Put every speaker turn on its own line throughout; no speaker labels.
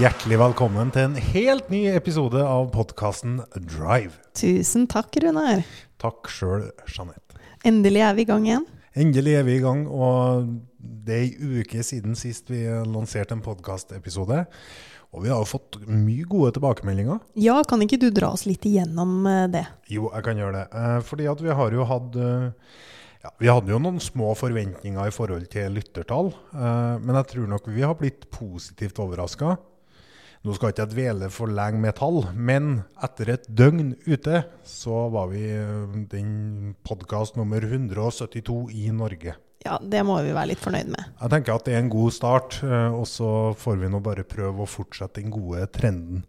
Hjertelig velkommen til en helt ny episode av podkasten Drive.
Tusen takk, Runar.
Takk sjøl, Jeanette.
Endelig er vi i gang igjen.
Endelig er vi i gang, og det er ei uke siden sist vi lanserte en podkastepisode. Og vi har jo fått mye gode tilbakemeldinger.
Ja, kan ikke du dra oss litt igjennom eh, det?
Jo, jeg kan gjøre det. Eh, Fordi at vi har jo hatt eh, ja, Vi hadde jo noen små forventninger i forhold til lyttertall. eh, Men jeg tror nok vi har blitt positivt overraska. Nå skal ikke jeg dvele for lenge med tall, men etter et døgn ute, så var vi eh, den podkast nummer 172 i Norge.
Ja, det må vi være litt fornøyd med.
Jeg tenker at det er en god start, eh, og så får vi nå bare prøve å fortsette den gode trenden.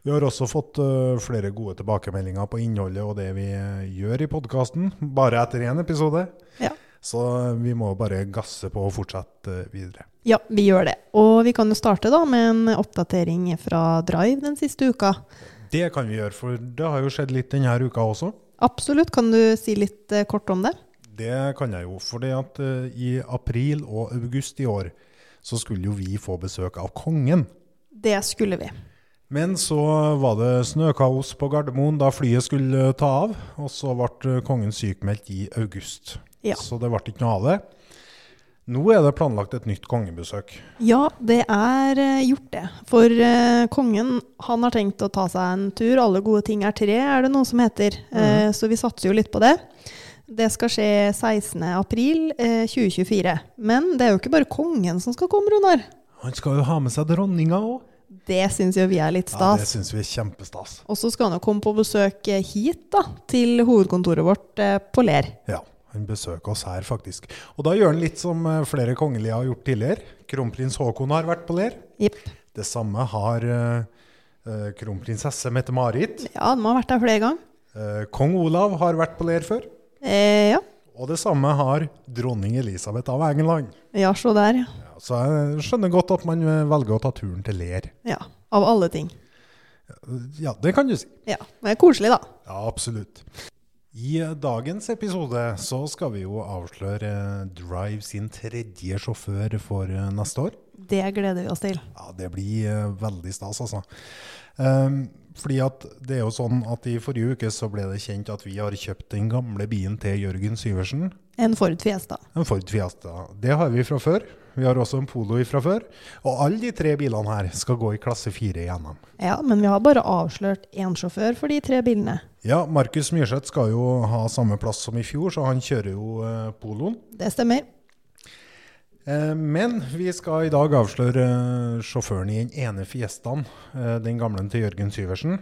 Vi har også fått eh, flere gode tilbakemeldinger på innholdet og det vi eh, gjør i podkasten, bare etter én episode.
Ja.
Så vi må bare gasse på og fortsette eh, videre.
ja, vi gjør det. Og vi kan jo starte da med en oppdatering fra Drive den siste uka.
Det kan vi gjøre, for det har jo skjedd litt denne uka også.
Absolutt, kan du si litt eh, kort om det?
Det kan jeg jo, for at eh, i april og august i år så skulle jo vi få besøk av kongen.
Det skulle vi.
Men så var det snøkaos på Gardermoen da flyet skulle eh, ta av, og så ble eh, kongen sykmeldt i august.
Ja.
Så det ble ikke noe av det. Nå er det planlagt et nytt kongebesøk.
Ja, det er eh, gjort det. For eh, kongen han har tenkt å ta seg en tur. Alle gode ting er tre, er det noe som heter.
Mhm.
Eh, så vi satser jo litt på det. Det skal skje 16.4.2024. Men det er jo ikke bare kongen som skal komme, Runar.
Han skal jo ha med seg dronninga òg.
Det syns jo vi er litt
Ja, det
stas.
syns vi er kjempestas.
og så skal han jo komme på besøk eh, hit, da. Til hovedkontoret vårt eh, på Ler.
Ja, han besøker oss her, faktisk. Og da gjør han litt som eh, flere kongelige har gjort tidligere. Kronprins Haakon har vært på Ler.
Jepp.
Det samme har eh, eh, kronprinsesse Mette-Marit.
Ja, de har vært der flere ganger.
Eh, Kong Olav har vært på Ler før.
Eh, ja.
Og det samme har dronning Elisabeth av England.
ja, se der, ja.
Ja, Så jeg skjønner godt at man eh, velger å ta turen til Ler.
ja. Av alle ting.
Ja, det kan du si.
Ja. Men det er koselig, da.
Ja, absolutt. I eh, dagens episode så skal vi jo avsløre eh, Drive sin tredje sjåfør for eh, neste år.
Det gleder vi oss til.
Ja, det blir eh, veldig stas, altså. Ehm, fordi at det er jo sånn at i forrige uke så ble det kjent at vi har kjøpt den gamle bilen til Jørgen Syversen.
En Ford Fiesta.
En Ford Fiesta. Det har vi fra før. Vi har også en Polo fra før. Og alle de tre bilene her skal gå i klasse 4 i NM.
Ja, men vi har bare avslørt én sjåfør for de tre bilene.
Ja, Markus Myrseth skal jo ha samme plass som i fjor, så han kjører jo eh, Poloen.
Det stemmer.
Eh, men vi skal i dag avsløre eh, sjåføren i den ene Fiestaen, eh, den gamle til Jørgen Syversen.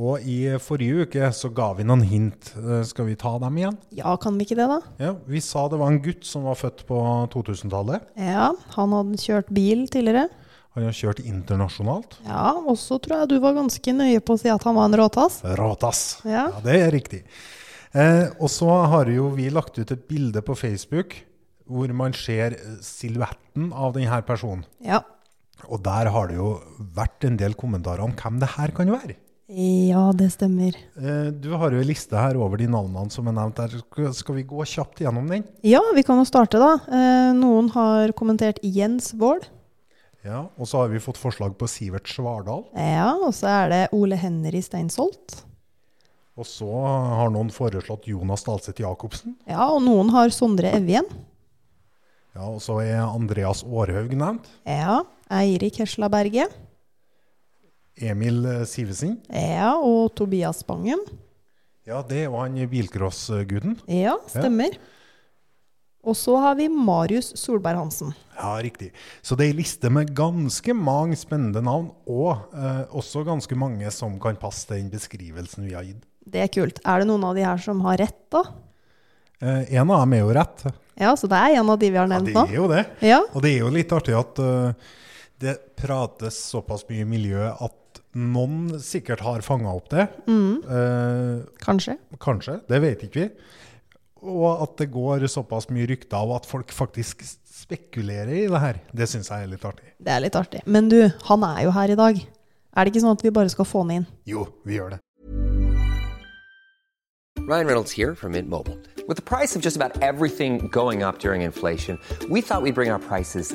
Og i forrige uke så ga vi noen hint. Eh, skal vi ta dem igjen?
Ja, kan vi ikke det, da?
Ja, vi sa det var en gutt som var født på 2000-tallet.
Ja, han hadde kjørt bil tidligere.
Han har kjørt internasjonalt.
Ja, og så tror jeg du var ganske nøye på å si at han var en råtass.
Råtass.
Ja.
Ja, det er riktig. Eh, og så har jo vi lagt ut et bilde på Facebook hvor man ser eh, silhuetten av denne personen.
Ja.
Og der har det jo vært en del kommentarer om hvem det her kan være.
ja, det stemmer.
Eh, Du har jo en liste her over de navnene som er nevnt her. Skal- Skal vi gå kjapt gjennom den?
Ja, vi kan jo starte, da. Eh, noen har kommentert Jens Vål.
Ja, Og så har vi fått forslag på Sivert Svardal.
Ja, og så er det Ole Henry Steinsholt.
Og så har noen foreslått Jonas Dalseth Jacobsen.
Ja, og noen har Sondre Evjen.
Ja, Og så er Andreas Aarhaug nevnt.
Ja. Eirik Hesla Berge.
Emil eh, Sivesen.
Ja, og Tobias Spangen.
Ja, det var han bilcrossgutten.
Ja, stemmer. Og så har vi Marius Solberg Hansen.
Ja, riktig. Så det er ei liste med ganske mange spennende navn, og eh, også ganske mange som kan passe til den beskrivelsen vi har gitt.
Det er kult. Er det noen av de her som har rett, da?
Eh, en av dem er jo rett.
Ja, så det er en av de vi har
Ja,
nevnt
det er
nå.
jo det.
Ja.
Og det er jo litt artig at eh, det prates såpass mye i miljøet at noen sikkert har fanga opp det.
Mm.
Eh,
Kanskje.
Kanskje, det vet ikke vi. Og at det går såpass mye rykter, og at folk faktisk spekulerer i det her, det syns jeg er litt artig.
Det er litt artig. Men du, han er jo her i dag. Er det ikke sånn at vi bare skal få han inn?
Jo, vi gjør det.
Ryan Reynolds here from Mint Mobile. With the price of just about everything going up during inflation, we thought we'd bring our prices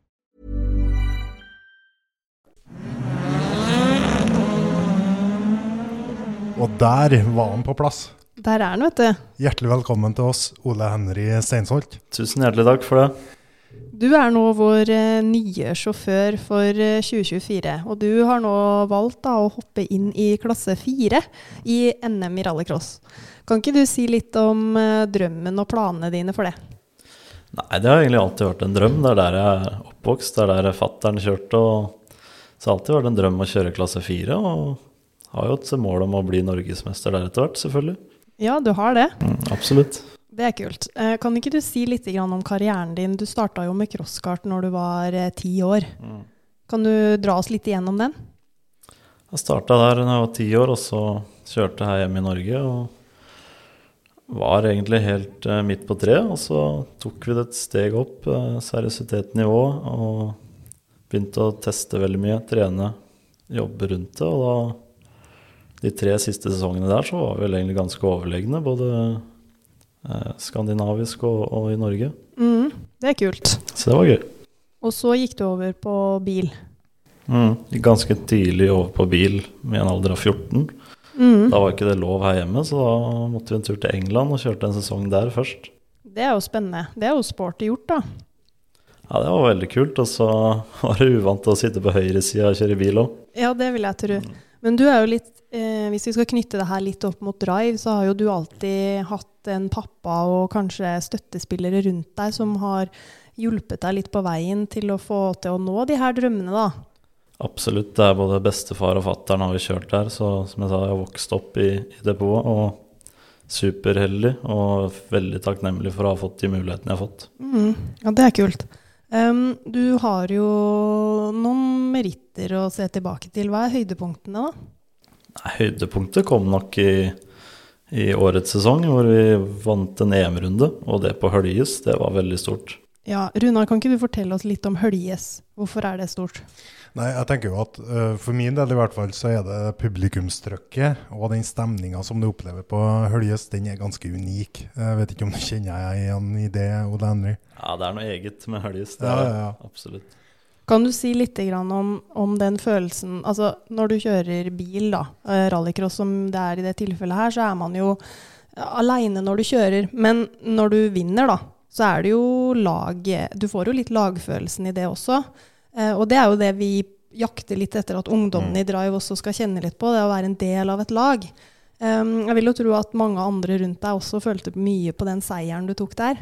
Og der var han på plass.
Der er han, vet du.
Hjertelig velkommen til oss, Ole Henry Steinsholt.
Tusen hjertelig takk for det.
Du er nå vår eh, nye sjåfør for eh, 2024, og du har nå valgt da, å hoppe inn i klasse 4 i NM i rallycross. Kan ikke du si litt om eh, drømmen og planene dine for det?
Nei, det har egentlig alltid vært en drøm. Det er der jeg er oppvokst, det er der fattern kjørte. Og så har det alltid vært en drøm å kjøre klasse fire. Og har jo et mål om å bli norgesmester der etter hvert, selvfølgelig.
Ja, du har det.
Mm, absolutt.
Det er kult. Eh, Kan ikke du si litt grann om karrieren din? Du starta jo med crosskart når du var eh, ti år. Kan du dra oss litt igjennom den?
Jeg starta der da jeg var ti år, og så kjørte jeg hjem i Norge. Og var egentlig helt eh, midt på treet. Og så tok vi det et steg opp, eh, seriøsitetsnivå, og begynte å teste veldig mye, trene, jobbe rundt det. Og da, de tre siste sesongene der, så var vi vel egentlig ganske overlegne, både eh, skandinavisk og, og i Norge.
Det er kult.
Så det var gøy.
Og så gikk du over på bil.
Mm. Gikk Ganske tidlig over på bil med en alder av 14. Da var ikke det lov her hjemme, så da måtte vi en tur til England og kjørte en sesong der først.
Det er jo spennende. Det er jo sporty gjort, da.
Ja, det var veldig kult, og så var det uvant å sitte på høyresida og kjøre bil Mm. òg.
Ja, det vil jeg tro. Men du er jo litt, eh, hvis vi skal knytte det her litt opp mot drive, så har jo du alltid hatt en pappa og kanskje støttespillere rundt deg som har hjulpet deg litt på veien til å få til å nå de her drømmene, da.
Absolutt. Det er både bestefar og fatter'n har vi kjørt der, så som jeg sa, jeg har vokst opp i, i depotet og superheldig og veldig takknemlig for å ha fått de mulighetene jeg har fått.
Ja, det er kult. Ehm, du har jo noen meritter å se tilbake til. Hva er høydepunktene, da?
Nei, Høydepunktet kom nok i, i årets sesong, hvor vi vant en EM-runde. Og det på Høljes, det var veldig stort.
Ja, Runar, kan ikke du fortelle oss litt om Høljes? Hvorfor er det stort?
Nei, jeg tenker jo at eh, for min del i hvert fall så er det publikumstrykket og den stemninga som du opplever på Høljes, den er ganske unik. Jeg vet ikke om du kjenner jeg igjen i det, Ole Henry?
Ja, det er noe eget med Høljes. det
Ja,
er
ja, ja.
det, Absolutt.
Kan du si litt grann om, om den følelsen altså Når du kjører bil, da, eh, rallycross som det er i det tilfellet her, så er man jo eh, aleine når du kjører. Men når du vinner, da, så er det jo lag Du får jo litt lagfølelsen i det også. Eh, Og det er jo det vi jakter litt etter at ungdommen i Drive også skal kjenne litt på, det å være en del av et lag. Em, Jeg vil jo tro at mange andre rundt deg også følte mye på den seieren du tok der.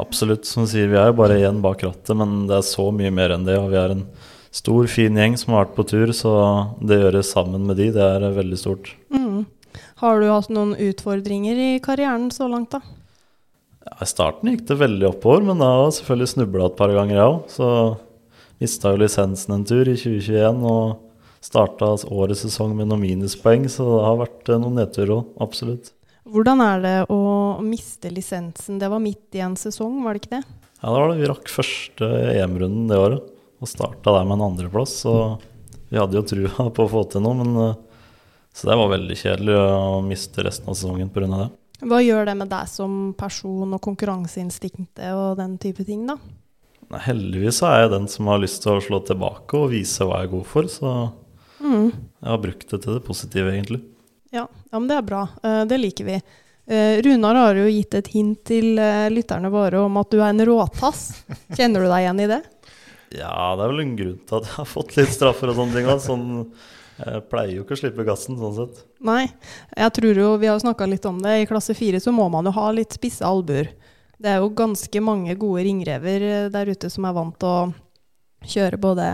Absolutt. Som du sier, vi er jo bare igjen bak rattet, men det er så mye mer enn det. Og vi er en stor, fin gjeng som har vært på tur, så det å gjøre sammen med de, det er eh, veldig stort.
Mm. Har du hatt noen utfordringer i karrieren så langt, da?
Ja, I starten gikk det veldig oppover, men da har jeg selvfølgelig snubla et par ganger, jeg òg. Så mista jo lisensen en tur i 2021 og starta årets sesong med noen minuspoeng, så det har vært eh, noen nedturer òg, absolutt.
Hvordan er det å miste lisensen? Det var midt i en sesong, var det ikke det?
Ja, det var det. Vi rakk første EM-runden det året, og starta der med en andreplass. Så vi hadde jo trua på å få til noe, men eh, Så det var veldig kjedelig å miste resten av sesongen pga. det.
Hva gjør det med deg som person og konkurranseinstinktet og den type ting, da?
Nei, heldigvis så er jeg den som har lyst til å slå tilbake og vise hva jeg er god for, så
Mm.
jeg har brukt det til det positive, egentlig.
Ja, ja, men det er bra. Eh, Det liker vi. Eh, Runar har jo gitt et hint til eh, lytterne våre om at du er en råtass. Kjenner du deg igjen i det?
Ja, det er vel en grunn til at jeg har fått litt straffer og sånne ting også, Sånn, jeg pleier jo ikke å slippe gassen, sånn sett.
Nei. Jeg tror jo, Vi har jo snakka litt om det. I klasse fire så må man jo ha litt spisse albuer. Det er jo ganske mange gode ringrever eh, der ute som er vant til å kjøre både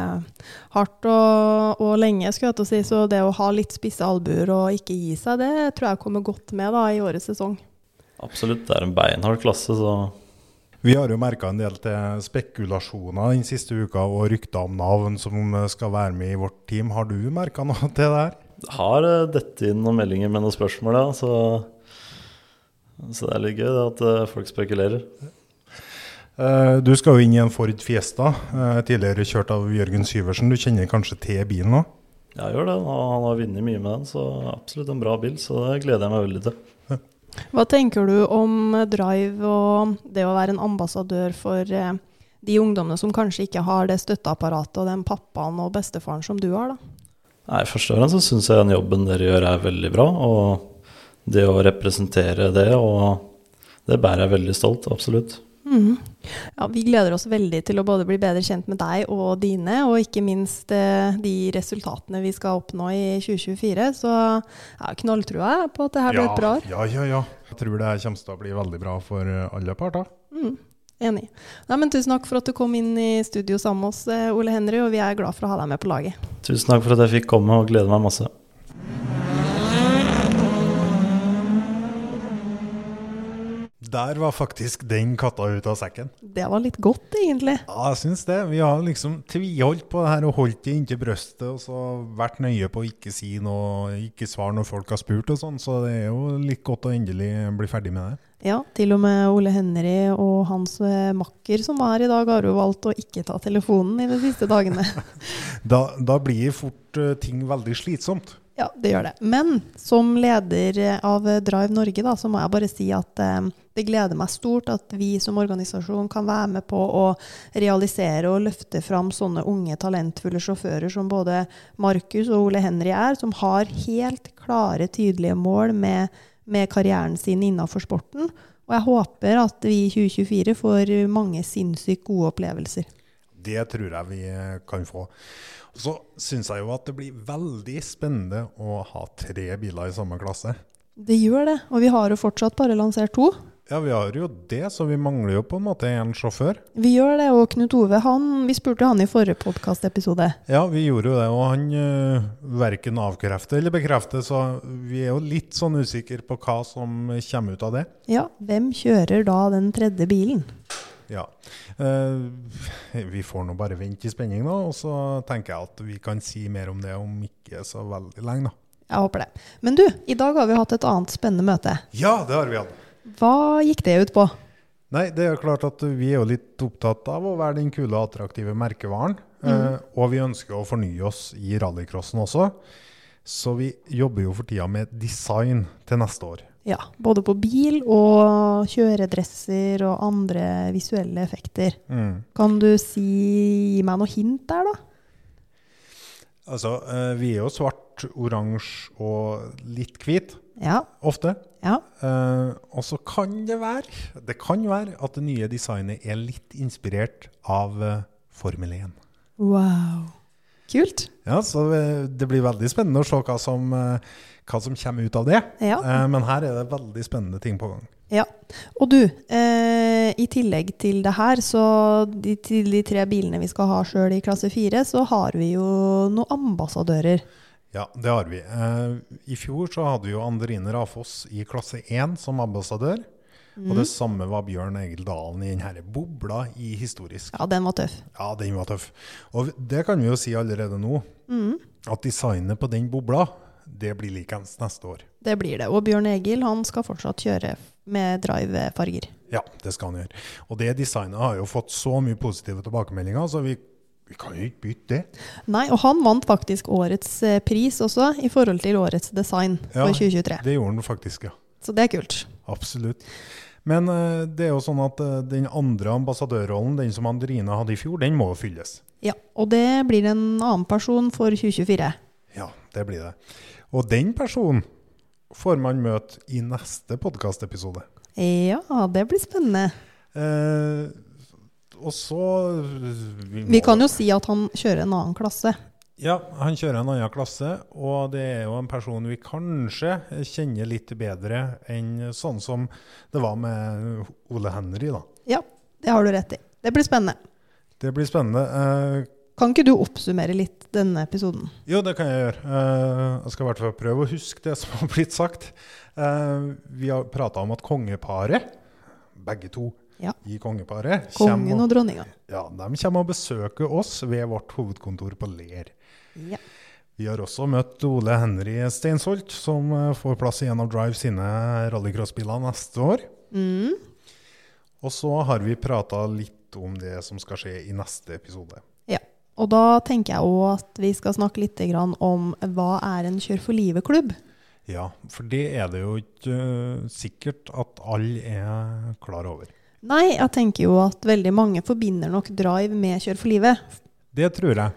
hardt og, og lenge, skulle jeg til å si. Så det å ha litt spisse albuer og ikke gi seg, det tror jeg kommer godt med da i årets sesong.
Absolutt, det er en beinhard klasse, så
Vi har jo merka en del til spekulasjoner den siste uka og rykter om navn som skal være med i vårt team. Har du merka noe til det her?
jeg har eh, dette inn noen meldinger med noen spørsmål, ja. Så, så det er litt gøy det at eh, folk spekulerer.
Eh, Du skal jo inn i en Ford Fiesta, eh, tidligere kjørt av Jørgen Syversen. Du kjenner kanskje til bilen òg?
Jeg gjør det, og han har vunnet mye med den, så absolutt en bra bil. Så det gleder jeg meg veldig til.
Hva tenker du om eh, Drive og det å være en ambassadør for eh, de ungdommene som kanskje ikke har det støtteapparatet og den pappaen og bestefaren som du har, da?
Nei, Først og fremst så syns jeg den jobben dere gjør er veldig bra. Og det å representere det, og det bærer jeg veldig stolt, absolutt.
Mhm. Ja, vi gleder oss veldig til å både bli bedre kjent med deg og dine, og ikke minst eh, de resultatene vi skal oppnå i 2024. Så ja, knalltrua jeg på at det her blir et bra år.
Ja, ja, ja. Jeg tror det her kommer til å bli veldig bra for eh, alle parter.
Mm, enig. Nei, men tusen takk for at du kom inn i studio sammen med oss, eh, Ole Henry, og vi er glad for å ha deg med på laget.
Tusen takk for at jeg fikk komme, og gleder meg masse.
Der var faktisk den katta ut av sekken.
Det var litt godt, egentlig.
Ja, jeg syns det. Vi har liksom tviholdt på det her og holdt det inntil brøstet og så vært nøye på å ikke si noe, ikke svare når folk har spurt og sånn, så det er jo litt godt å endelig bli ferdig med det.
Ja, til og med Ole Henry og hans eh, makker som var her i dag, har jo valgt å ikke ta telefonen i de siste dagene.
Da, da blir fort eh, ting veldig slitsomt.
Ja, det gjør det. Men som leder eh, av Drive Norge, da, så må jeg bare si at eh, det gleder meg stort at vi som organisasjon kan være med på å realisere og løfte fram sånne unge, talentfulle sjåfører som både Markus og Ole Henry er, som har helt klare, tydelige mål med, med karrieren sin innafor sporten. Og jeg håper at vi i 2024 får mange sinnssykt gode opplevelser.
Det tror jeg vi eh, kan få. Og så syns jeg jo at det blir veldig spennende å ha tre biler i samme klasse.
Det gjør det, og vi har jo fortsatt bare lansert to.
Ja, vi har jo det, så vi mangler jo på en måte en sjåfør.
Vi gjør det, og Knut Ove, han, vi spurte han i forrige podkastepisode.
Ja, vi gjorde jo det, og han uh, verken avkrefter eller bekrefter, så vi er jo litt sånn usikre på hva som kommer ut av det.
Ja, hvem kjører da den tredje bilen?
Ja. Eh, vi får nå bare vente i spenning, da, og så tenker jeg at vi kan si mer om det om ikke så veldig lenge, da.
Jeg håper det. Men du, i dag har vi hatt et annet spennende møte.
Ja, det har vi hatt.
Hva gikk det ut på?
Nei, det er jo klart at vi er jo litt opptatt av å være den kule og attraktive merkevaren. Eh, Eh, og vi ønsker å fornye oss i rallycrossen også. Så vi jobber jo for tida med design til neste år.
Ja, både på bil og kjøredresser og andre visuelle effekter.
Mm.
Kan du si, gi meg noe hint der, da?
Altså, eh, vi er jo svart, oransje og litt hvit
Ja.
ofte.
ja.
Eh, og så kan det være Det kan være at det nye designet er litt inspirert av eh, Formel 1.
Wow. Kult.
Ja, så eh, det blir veldig spennende å se hva som, eh, hva som kommer ut av det.
Ja.
Eh, Men her er det veldig spennende ting på gang.
Ja. Og du, eh, i tillegg til det her, så de, til de tre bilene vi skal ha sjøl i klasse fire, så har vi jo noen ambassadører.
Ja, det har vi. Eh, I fjor så hadde vi jo Anderine Rafoss i klasse 1 som ambassadør.
Mm.
Og det samme var Bjørn Egil Dalen i denne bobla i historisk.
Ja, den var tøff.
Ja, den var tøff. Og det kan vi jo si allerede nå,
Mm.
at designet på den bobla, det blir likens neste år.
Det blir det. Og Bjørn Egil han skal fortsatt kjøre med drivefarger.
Ja, det skal han gjøre. Og det designet har jo fått så mye positive tilbakemeldinger, så vi, vi kan jo ikke bytte det.
Nei, og han vant faktisk årets eh, pris også, i forhold til årets design
Ja,
for 2023.
Det gjorde han faktisk, ja.
Så det er kult.
Absolutt. Men eh, det er jo sånn at eh, den andre ambassadørrollen, den som Andrina hadde i fjor, den må jo fylles.
Ja, Og det blir en annen person for 2024.
Ja, det blir det. Og den personen får man møte i neste podkastepisode.
Ja, det blir spennende.
Eh, og så eh, vi,
Vi
må-
kan jo si at han kjører en annen klasse.
Ja, han kjører en annen klasse, og det er jo en person vi kanskje kjenner litt bedre enn sånn som det var med Ole Henry, da.
Ja, det har du rett i. Det blir spennende.
Det blir spennende. Eh,
Kan ikke du oppsummere litt denne episoden?
Jo, det kan jeg gjøre. Eh, Jeg skal i hvert fall prøve å huske det som har blitt sagt. Eh, Vi har prata om at kongeparet, begge to
Ja.
i kongeparet
Kongen og
og,
dronninga.
ja, de kommer og besøker oss ved vårt hovedkontor på Ler.
Ja.
Vi har også møtt Ole Henry Steinsholt, som eh, får plass i en av Drive sine rallycrossbiler neste år.
Mm.
Og så har vi prata litt om det som skal skje i neste episode.
ja. Og da tenker jeg òg at vi skal snakke litt grann om hva er en Kjør for livet-klubb?
Ja, for det er det jo ikke eh, sikkert at alle er klar over.
Nei, jeg tenker jo at veldig mange forbinder nok Drive med Kjør for livet.
Det tror jeg.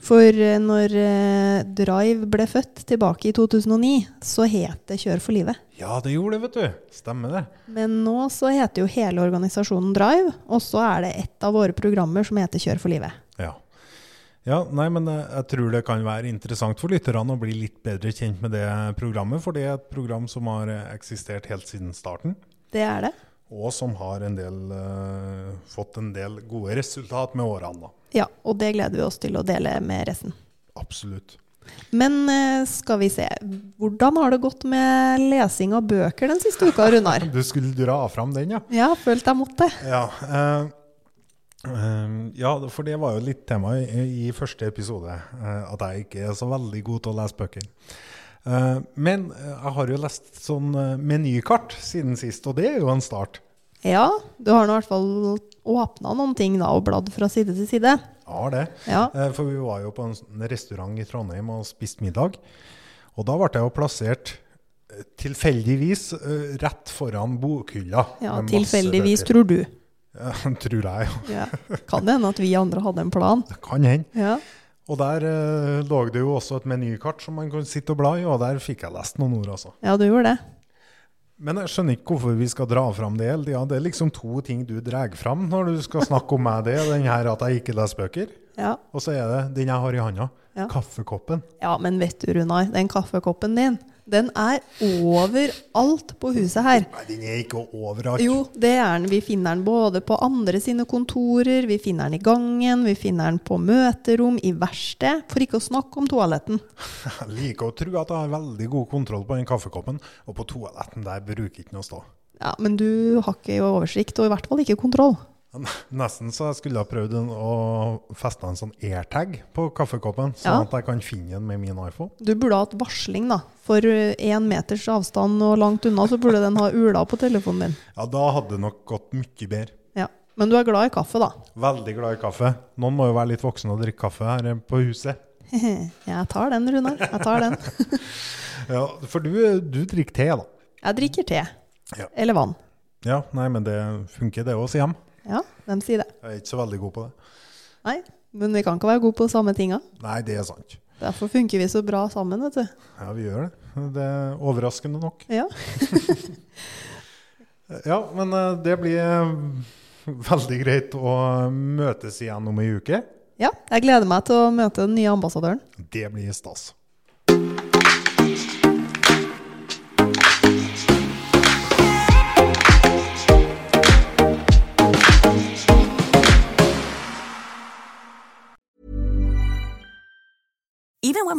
For eh, når eh, Drive ble født tilbake i 2009, så het det Kjør for livet.
Ja, det gjorde det, vet du. Stemmer det.
Men nå så heter jo hele organisasjonen Drive, og så er det ett av våre programmer som heter Kjør for livet.
Ja. Ja, nei, men eh, jeg tror det kan være interessant for lytterne å bli litt bedre kjent med det programmet, for det er et program som har eh, eksistert helt siden starten,
Det er det.
og som har en del, eh, fått en del gode resultat med årene. da.
Ja, og det gleder vi oss til å dele med resten.
Absolutt.
Men eh, skal vi se, hvordan har det gått med lesing av bøker den siste uka, Runar?
Du skulle dra fram den, ja?
Ja, følte jeg måtte.
Ja, eh, eh, ja, for det var jo litt tema i, i første episode, eh, at jeg ikke er så veldig god til å lese bøker. Eh, men eh, jeg har jo lest sånn eh, menykart siden sist, og det er jo en start.
Ja, du har nå i hvert fall åpna noen ting da, og bladd fra side til side.
Jeg har det.
Ja.
Eh, for vi var jo på en sånn restaurant i Trondheim og spiste middag, og da ble jeg jo plassert eh, tilfeldigvis eh, rett foran bokhylla.
Ja,
med masse
tilfeldigvis,
bøker.
tror du.
Ja, tror jeg, ja.
Ja. Kan det hende at vi andre hadde en plan?
Det kan hende.
Ja.
Og der eh, lå det jo også et menykart som man kunne sitte og bla i, og der fikk jeg lest noen ord, altså.
ja, du gjorde det.
Men jeg skjønner ikke hvorfor vi skal dra fram det. hele tiden. det er liksom to ting du drar fram når du skal snakke om meg, det er den her at jeg ikke leser bøker,
Ja.
og så er det den jeg har i handa,
Ja.
kaffekoppen.
ja, men vet du, Runar, den kaffekoppen din, den er overalt på huset her.
Nei, den er ikke overalt.
Jo, det er den. Vi finner den både på andre sine kontorer, vi finner den i gangen, vi finner den på møterom, i verksted, for ikke å snakke om toaletten.
Jeg liker å tro at jeg har veldig god kontroll på den kaffekoppen, og på toaletten der bruker jeg ikke noe å stå.
Ja, Men du har ikke oversikt, og i hvert fall ikke kontroll.
Nesten så jeg skulle ha prøvd en- å feste en sånn airtag på kaffekoppen, sånn
Ja.
at jeg kan finne den med min iPhone.
Du burde ha hatt varsling, da. For én meters avstand og langt unna, så burde den ha ula på telefonen din.
Ja, da hadde det nok gått mye bedre.
Ja. Men du er glad i kaffe, da?
Veldig glad i kaffe. Noen må jo være litt voksen og drikke kaffe her eh, på huset.
Eh, Jeg tar den, Runar. Jeg tar den.
Ja, For du, du drikker te, da.
Jeg drikker te.
Ja.
Eller vann.
Ja, nei, men det funker, det òg, sier de.
Ja, de sier det.
Jeg er ikke så veldig god på det.
Nei, men vi kan ikke være gode på samme tinga.
Nei, det er sant.
Derfor funker vi så bra sammen, vet du.
Ja, vi gjør det. Det er overraskende nok.
Ja.
Ja, men eh, det blir eh, veldig greit å møtes igjen om ei uke.
ja. Jeg gleder meg til å møte den nye ambassadøren.
Det blir stas.
Even when